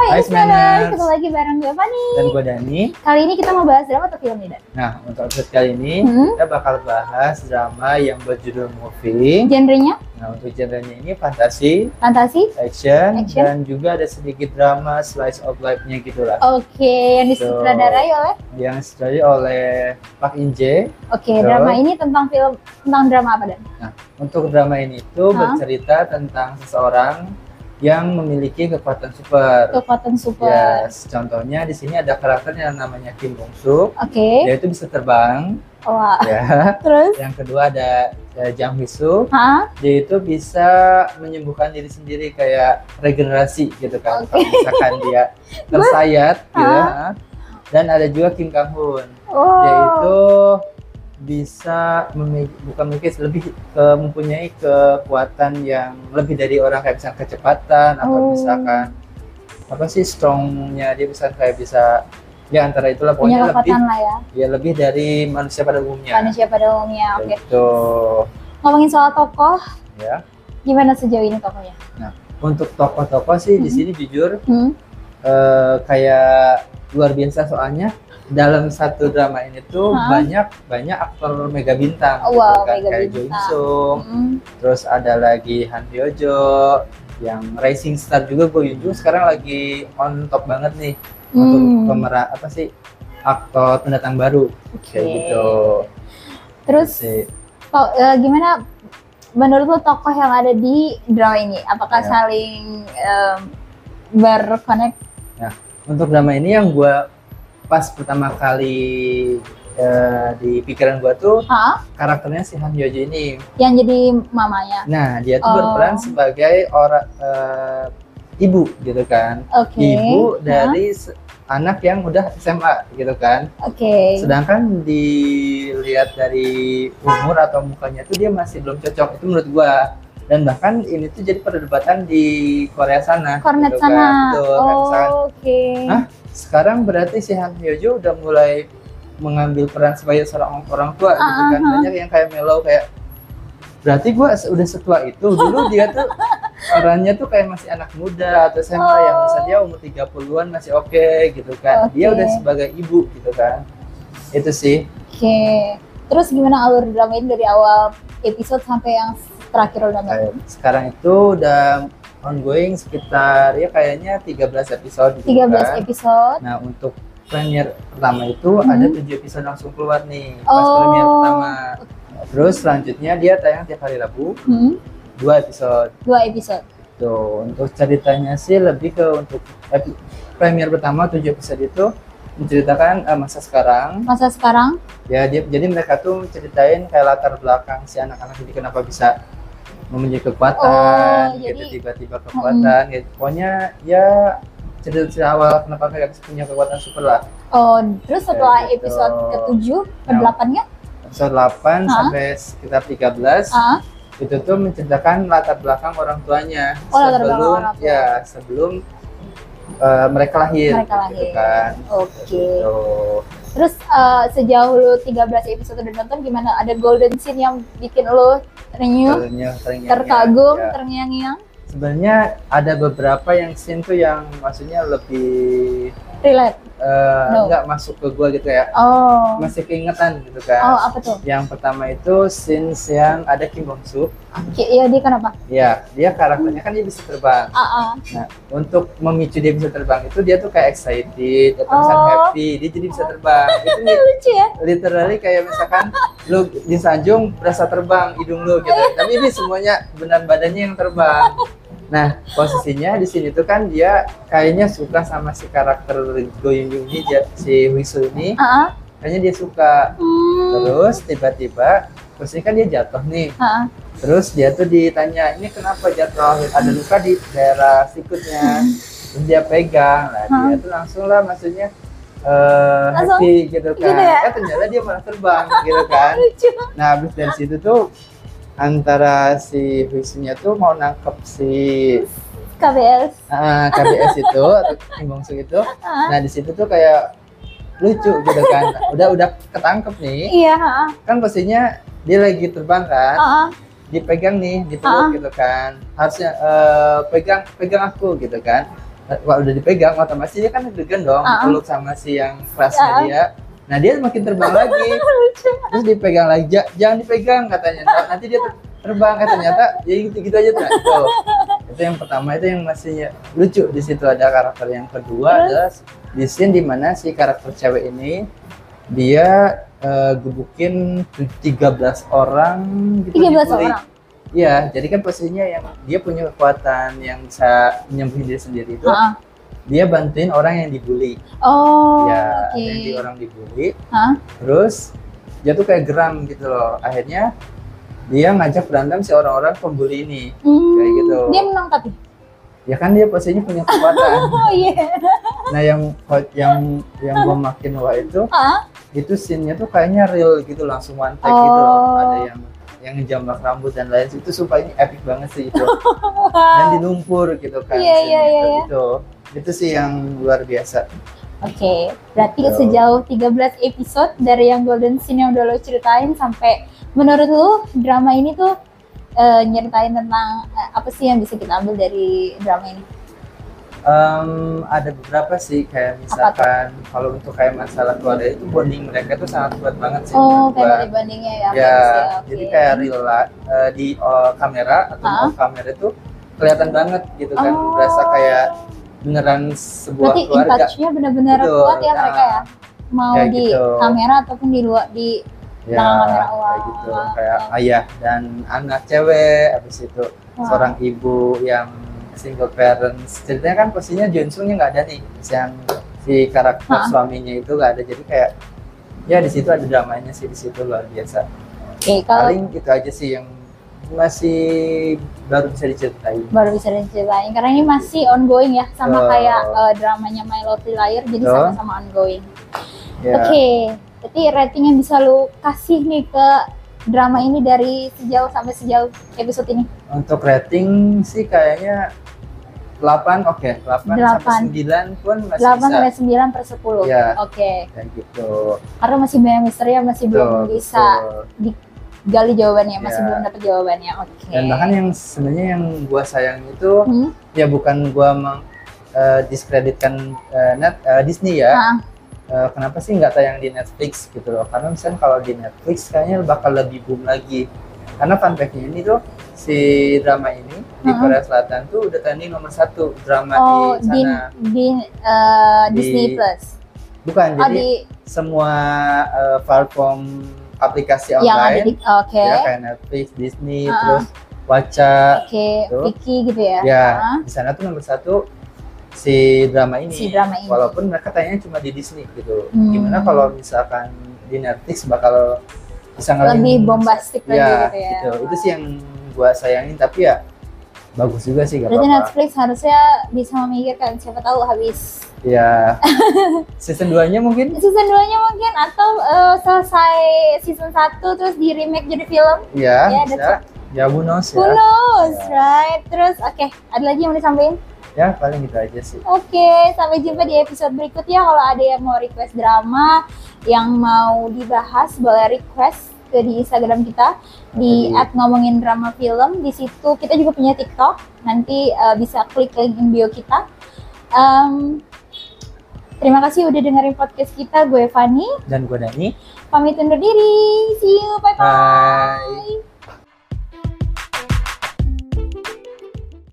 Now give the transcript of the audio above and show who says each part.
Speaker 1: Hai,
Speaker 2: Hai,
Speaker 1: Smaners.
Speaker 2: Smaners. Ketemu lagi bareng gue Fani.
Speaker 1: dan gue Dani.
Speaker 2: Kali ini kita mau bahas drama atau film nih, Dan?
Speaker 1: Nah, untuk episode kali ini
Speaker 2: Hmm.
Speaker 1: kita bakal bahas drama yang berjudul Moving.
Speaker 2: Genrenya
Speaker 1: Nah, untuk genrenya ini fantasi,
Speaker 2: fantasi.
Speaker 1: action,
Speaker 2: Action.
Speaker 1: dan juga ada sedikit drama slice of life-nya gitu lah.
Speaker 2: Oke, yang
Speaker 1: Betul.
Speaker 2: disutradarai oleh
Speaker 1: Yang disutradarai oleh Park In Jae.
Speaker 2: Oke,
Speaker 1: Betul.
Speaker 2: drama ini tentang film tentang drama apa, Dan?
Speaker 1: Untuk drama ini tuh
Speaker 2: Hah?
Speaker 1: bercerita tentang seseorang yang memiliki kekuatan super.
Speaker 2: Kekuatan super.
Speaker 1: Yes, contohnya di sini ada karakter yang namanya Kim Bong Suk.
Speaker 2: Oke.
Speaker 1: Dia itu bisa terbang,
Speaker 2: Wah,
Speaker 1: ya.
Speaker 2: terus
Speaker 1: Yang kedua ada, ada Jang Hee Suk.
Speaker 2: Hah?
Speaker 1: dia itu bisa menyembuhkan diri sendiri kayak regenerasi gitu
Speaker 2: Oke.
Speaker 1: kan kalau misalkan dia tersayat gitu
Speaker 2: Ah.
Speaker 1: ha. dan ada juga Kim Kang Hoon
Speaker 2: Oh.
Speaker 1: dia itu bisa memiliki, bukan memiliki lebih ke mempunyai kekuatan yang lebih dari orang kayak misalkan kecepatan atau
Speaker 2: Oh.
Speaker 1: misalkan apa sih strongnya dia bisa kayak bisa ya antara itulah
Speaker 2: punya
Speaker 1: pokoknya lebih
Speaker 2: kekuatan lah ya.
Speaker 1: ya lebih dari manusia pada umumnya
Speaker 2: Manusia pada umumnya. Oke.
Speaker 1: gitu
Speaker 2: Ngomongin soal tokoh,
Speaker 1: ya
Speaker 2: gimana sejauh ini tokohnya?
Speaker 1: untuk tokoh-tokoh sih di
Speaker 2: Mhm.
Speaker 1: sini jujur
Speaker 2: Hmm?
Speaker 1: eh, kayak luar biasa soalnya dalam satu drama ini tuh
Speaker 2: Hah?
Speaker 1: banyak banyak aktor mega bintang gitu kan.
Speaker 2: Oh, wow, mega
Speaker 1: kayak Jo In
Speaker 2: bintang.
Speaker 1: Sung,
Speaker 2: Hmm.
Speaker 1: terus ada lagi Han Hyojo yang rising star juga Go Yun Jung sekarang lagi on top banget nih untuk
Speaker 2: Hmm.
Speaker 1: pemeran apa sih aktor pendatang baru kayak
Speaker 2: Oke.
Speaker 1: gitu
Speaker 2: Terus
Speaker 1: Sih.
Speaker 2: To- eh, gimana menurut lo tokoh yang ada di drama ini apakah
Speaker 1: Ya.
Speaker 2: saling em, berkonek
Speaker 1: untuk drama ini yang gua pas pertama kali eh, di pikiran gua tuh
Speaker 2: ha?
Speaker 1: karakternya si Han Hyojo ini
Speaker 2: yang jadi mamanya
Speaker 1: Nah, dia tuh
Speaker 2: Oh.
Speaker 1: berperan sebagai orang eh, ibu gitu kan.
Speaker 2: oke
Speaker 1: Ibu
Speaker 2: Hah?
Speaker 1: dari se- anak yang udah SMA gitu kan.
Speaker 2: oke
Speaker 1: Sedangkan dilihat dari umur atau mukanya tuh dia masih belum cocok itu menurut gua. Dan bahkan ini tuh jadi perdebatan di Korea sana.
Speaker 2: kornet
Speaker 1: gitu kan.
Speaker 2: sana
Speaker 1: Betul,
Speaker 2: Oh,
Speaker 1: Korea sana.
Speaker 2: oke
Speaker 1: Hah? Sekarang berarti si Han Hyojo udah mulai mengambil peran sebagai seorang orang tua gitu
Speaker 2: Ah,
Speaker 1: kan. Banyak yang kayak mellow kayak berarti gua se- udah setua itu. Dulu dia tuh orangnya tuh kayak masih anak muda atau SMA yang
Speaker 2: Oh.
Speaker 1: misalnya umur 30-an masih oke gitu kan. Dia
Speaker 2: Oke.
Speaker 1: udah sebagai ibu gitu kan. Itu sih.
Speaker 2: oke terus gimana alur drama ini dari awal episode sampai yang terakhir lo nonton
Speaker 1: Kayak sekarang itu udah ongoing sekitar ya kayaknya 13 episode gitu
Speaker 2: 13
Speaker 1: kan.
Speaker 2: episode
Speaker 1: Nah untuk premier pertama itu
Speaker 2: Mhm.
Speaker 1: ada tujuh episode langsung keluar nih pas
Speaker 2: Oh.
Speaker 1: premier pertama. Terus selanjutnya dia tayang tiap hari Rabu
Speaker 2: hmm?
Speaker 1: dua episode.
Speaker 2: dua episode
Speaker 1: Tuh untuk ceritanya sih lebih ke untuk epi- premier pertama tujuh episode itu menceritakan eh, masa sekarang
Speaker 2: masa sekarang
Speaker 1: ya dia- jadi mereka tuh ceritain kayak latar belakang si anak-anak ini kenapa bisa mempunyai kekuatan
Speaker 2: Oh,
Speaker 1: gitu
Speaker 2: jadi-
Speaker 1: tiba-tiba kekuatan gitu pokoknya ya cerita-cerita awal kenapa mereka bisa punya kekuatan super lah
Speaker 2: oh terus setelah
Speaker 1: gitu.
Speaker 2: episode ketujuh ke
Speaker 1: Nah.
Speaker 2: delapannya
Speaker 1: episode 8
Speaker 2: Hah?
Speaker 1: sampai sekitar 13
Speaker 2: ah
Speaker 1: itu tuh menceritakan latar belakang orang tuanya
Speaker 2: Oh, latar belakang
Speaker 1: sebelum
Speaker 2: orang tua.
Speaker 1: ya sebelum eh, mereka lahir
Speaker 2: Mereka
Speaker 1: gitu
Speaker 2: lahir.
Speaker 1: kan
Speaker 2: oke
Speaker 1: Gitu.
Speaker 2: Terus eh, sejauh lu 13 episode udah nonton gimana? Ada golden scene yang bikin lu renew,
Speaker 1: Ternyata- ternyata-
Speaker 2: terkagum,
Speaker 1: ya.
Speaker 2: terngiang-ngiang,
Speaker 1: sebenarnya ada beberapa yang scene tuh yang maksudnya lebih
Speaker 2: relate?
Speaker 1: eh,
Speaker 2: No.
Speaker 1: nggak masuk ke gua gitu ya
Speaker 2: Oh,
Speaker 1: masih keingetan gitu
Speaker 2: oh
Speaker 1: kan
Speaker 2: apa tuh?
Speaker 1: yang pertama itu scenes yang ada Kim Bong Suk
Speaker 2: Ki- Iya dia kenapa?
Speaker 1: ya dia karakternya kan dia bisa terbang
Speaker 2: Ah, ah.
Speaker 1: Nah, untuk memicu dia bisa terbang itu dia tuh kayak excited atau misalkan
Speaker 2: Oh.
Speaker 1: happy, dia jadi bisa terbang. itu nih,
Speaker 2: lucu ya?
Speaker 1: literally kayak misalkan lu disanjung berasa terbang hidung lu gitu. Tapi ini semuanya benar badannya yang terbang. Nah, posisinya di sini tuh kan dia kayaknya suka sama si karakter Go Yun Jung ini, dia- si Wisu ini,
Speaker 2: Ah, ah.
Speaker 1: kayaknya dia suka.
Speaker 2: Hmm.
Speaker 1: Terus tiba-tiba, terus ini kan dia jatuh nih.
Speaker 2: Ah, ah.
Speaker 1: Terus dia tuh ditanya, ini kenapa jatuh? Ada luka di daerah sikutnya. Terus dia pegang, lah dia tuh langsung lah maksudnya eh
Speaker 2: Langsung
Speaker 1: happy gitu kan.
Speaker 2: gitu ya?
Speaker 1: Eh ternyata dia malah terbang gitu kan.
Speaker 2: Lucu.
Speaker 1: Nah abis dari situ tuh antara si Wisunya tuh mau nangkep si
Speaker 2: KBS.
Speaker 1: eh, KBS itu atau Kim Bong Suk itu.
Speaker 2: Ah,
Speaker 1: Nah di situ tuh kayak lucu gitu kan. Udah udah ketangkep nih.
Speaker 2: Iya, ah,
Speaker 1: Nah, Kan pastinya dia lagi terbang kan
Speaker 2: ah. Ah,
Speaker 1: dipegang nih di
Speaker 2: Ah.
Speaker 1: perut gitu kan harusnya eh, pegang pegang aku gitu kan Wah, udah dipegang otomatis dia kan deg-degan dong
Speaker 2: Ah.
Speaker 1: peluk sama si yang kelasnya
Speaker 2: Ah.
Speaker 1: dia. Nah dia makin terbang lagi.
Speaker 2: lucu
Speaker 1: Terus dipegang lagi, "Ja- jangan dipegang katanya. Ntar- Nanti dia ter- terbang eh ternyata ya gitu gitu aja tuh. Tuh. Itu yang pertama itu yang masih lucu di situ ada karakter yang kedua adalah di scene dimana si karakter cewek ini dia eh, gebukin tu- 13 orang gitu
Speaker 2: 13
Speaker 1: diculik.
Speaker 2: orang.
Speaker 1: Iya, jadi kan posisinya yang dia punya kekuatan yang bisa menyembuhin diri sendiri itu
Speaker 2: Heeh.
Speaker 1: dia bantuin orang yang dibully.
Speaker 2: ah. oh
Speaker 1: ya,
Speaker 2: oke
Speaker 1: nanti orang dibully,
Speaker 2: Hah?
Speaker 1: terus dia tuh kayak geram gitu loh. Akhirnya dia ngajak berantem si orang-orang pembuli ini.
Speaker 2: Hmm,
Speaker 1: Kayak gitu.
Speaker 2: dia menang tapi
Speaker 1: Ya kan dia posisinya punya kekuatan.
Speaker 2: oh iya
Speaker 1: nah, yang yang yang gua makin wah itu
Speaker 2: Ah,
Speaker 1: itu scene-nya tuh kayaknya real gitu langsung one take gitu loh.
Speaker 2: Oh.
Speaker 1: Ada yang yang ngejambak rambut dan lain itu sumpah ini epic banget sih itu. dan
Speaker 2: wow.
Speaker 1: di lumpur gitu kan.
Speaker 2: Iya, iya,
Speaker 1: scene-nya
Speaker 2: iya,
Speaker 1: tuh
Speaker 2: iya.
Speaker 1: Gitu. Itu sih yang luar biasa.
Speaker 2: Oke, berarti
Speaker 1: Gitu.
Speaker 2: sejauh 13 episode dari yang Golden Scene yang udah lo ceritain sampai menurut lo drama ini tuh eh, nyeritain tentang eh, apa sih yang bisa kita ambil dari drama ini?
Speaker 1: Em, ada beberapa sih kayak misalkan kalau untuk kayak masalah keluarga itu bonding mereka tuh sangat kuat banget sih.
Speaker 2: Oh,
Speaker 1: menurut gua.
Speaker 2: family bondingnya ya.
Speaker 1: Iya. Ya,
Speaker 2: harusnya, oke.
Speaker 1: jadi kayak real lah, eh, di eh, kamera atau
Speaker 2: Ah.
Speaker 1: off kamera itu kelihatan banget gitu kan,
Speaker 2: Oh.
Speaker 1: berasa kayak beneran sebuah
Speaker 2: berarti in
Speaker 1: keluarga.
Speaker 2: touch-nya benar-benar
Speaker 1: Betul,
Speaker 2: kuat ya
Speaker 1: nah.
Speaker 2: mereka ya. Mau
Speaker 1: Kayak
Speaker 2: di
Speaker 1: gitu.
Speaker 2: kamera ataupun di luar di
Speaker 1: ya,
Speaker 2: Tangan kamera,
Speaker 1: kayak
Speaker 2: wah.
Speaker 1: gitu, kayak ayah dan anak cewek, habis itu
Speaker 2: Wah.
Speaker 1: seorang ibu yang single parents. Ceritanya kan posisinya Junsoongnya nggak ada nih, yang si karakter
Speaker 2: Ha.
Speaker 1: suaminya itu nggak ada, jadi kayak ya di situ ada dramanya sih di situ luar biasa.
Speaker 2: Oke, kalau
Speaker 1: Paling itu aja sih yang masih baru bisa diceritain.
Speaker 2: baru bisa diceritain karena ini masih ongoing ya sama
Speaker 1: Betul.
Speaker 2: kayak eh, dramanya My Lovely Liar jadi
Speaker 1: Betul.
Speaker 2: sama-sama ongoing.
Speaker 1: Ya.
Speaker 2: Oke, berarti rating yang bisa lu kasih nih ke drama ini dari sejauh sampai sejauh episode ini.
Speaker 1: Untuk rating sih kayaknya 8 oke, 8, sampai
Speaker 2: Delapan.
Speaker 1: 9 pun masih
Speaker 2: 8
Speaker 1: bisa.
Speaker 2: sampai 9 per 10.
Speaker 1: Iya.
Speaker 2: Oke.
Speaker 1: Kayak gitu.
Speaker 2: Karena masih banyak misteri yang masih belum
Speaker 1: Betul,
Speaker 2: bisa
Speaker 1: betul.
Speaker 2: digali jawabannya, masih
Speaker 1: Iya.
Speaker 2: belum dapat jawabannya. Oke.
Speaker 1: Dan bahkan yang sebenarnya yang gua sayang itu
Speaker 2: Hmm?
Speaker 1: ya bukan gua meng eh, diskreditkan eh, net eh, Disney ya.
Speaker 2: Nah,
Speaker 1: Eh, kenapa sih nggak tayang di Netflix gitu loh? Karena misalnya kalau di Netflix kayaknya bakal lebih boom lagi. Karena fun fact-nya ini tuh si drama ini di
Speaker 2: Mm-mm.
Speaker 1: Korea Selatan tuh udah tanding nomor satu drama
Speaker 2: Ah. oh,
Speaker 1: di
Speaker 2: di,
Speaker 1: sana.
Speaker 2: di, eh,
Speaker 1: Di-
Speaker 2: Disney Plus.
Speaker 1: Bukan
Speaker 2: oh,
Speaker 1: jadi
Speaker 2: di
Speaker 1: semua eh, platform aplikasi
Speaker 2: yang ada di
Speaker 1: online
Speaker 2: oke.
Speaker 1: ya kayak Netflix, Disney,
Speaker 2: Uh-uh.
Speaker 1: terus Waca
Speaker 2: Oke,
Speaker 1: Gitu.
Speaker 2: Vicky gitu ya.
Speaker 1: ya
Speaker 2: Ah,
Speaker 1: di sana tuh nomor satu si drama ini
Speaker 2: Si drama ini.
Speaker 1: walaupun mereka tayangnya cuma di Disney gitu
Speaker 2: Hmm.
Speaker 1: gimana kalau misalkan di Netflix bakal bisa ngalahin
Speaker 2: lebih bombastik lagi
Speaker 1: ya,
Speaker 2: gitu ya.
Speaker 1: gitu. itu sih yang gua sayangin tapi ya bagus juga sih gak
Speaker 2: Berarti
Speaker 1: apa-apa
Speaker 2: Netflix harusnya bisa memikirkan siapa tahu habis
Speaker 1: ya season 2 nya mungkin
Speaker 2: season 2 nya mungkin atau eh, selesai season 1 terus di remake jadi film
Speaker 1: ya,
Speaker 2: Ya,
Speaker 1: bisa
Speaker 2: that's-
Speaker 1: ya who knows
Speaker 2: who
Speaker 1: ya
Speaker 2: knows
Speaker 1: Ya.
Speaker 2: right terus oke ada lagi yang mau disampaikan
Speaker 1: ya paling gitu aja sih
Speaker 2: oke sampai jumpa di episode berikutnya kalau ada yang mau request drama yang mau dibahas boleh request ke di Instagram kita di
Speaker 1: Jadi-
Speaker 2: at ngomongin drama film di situ kita juga punya TikTok nanti eh, bisa klik link in bio kita Em, terima kasih udah dengerin podcast kita gue Fani
Speaker 1: dan gua Dani
Speaker 2: pamit undur diri. See you. Bye bye.
Speaker 1: Bye.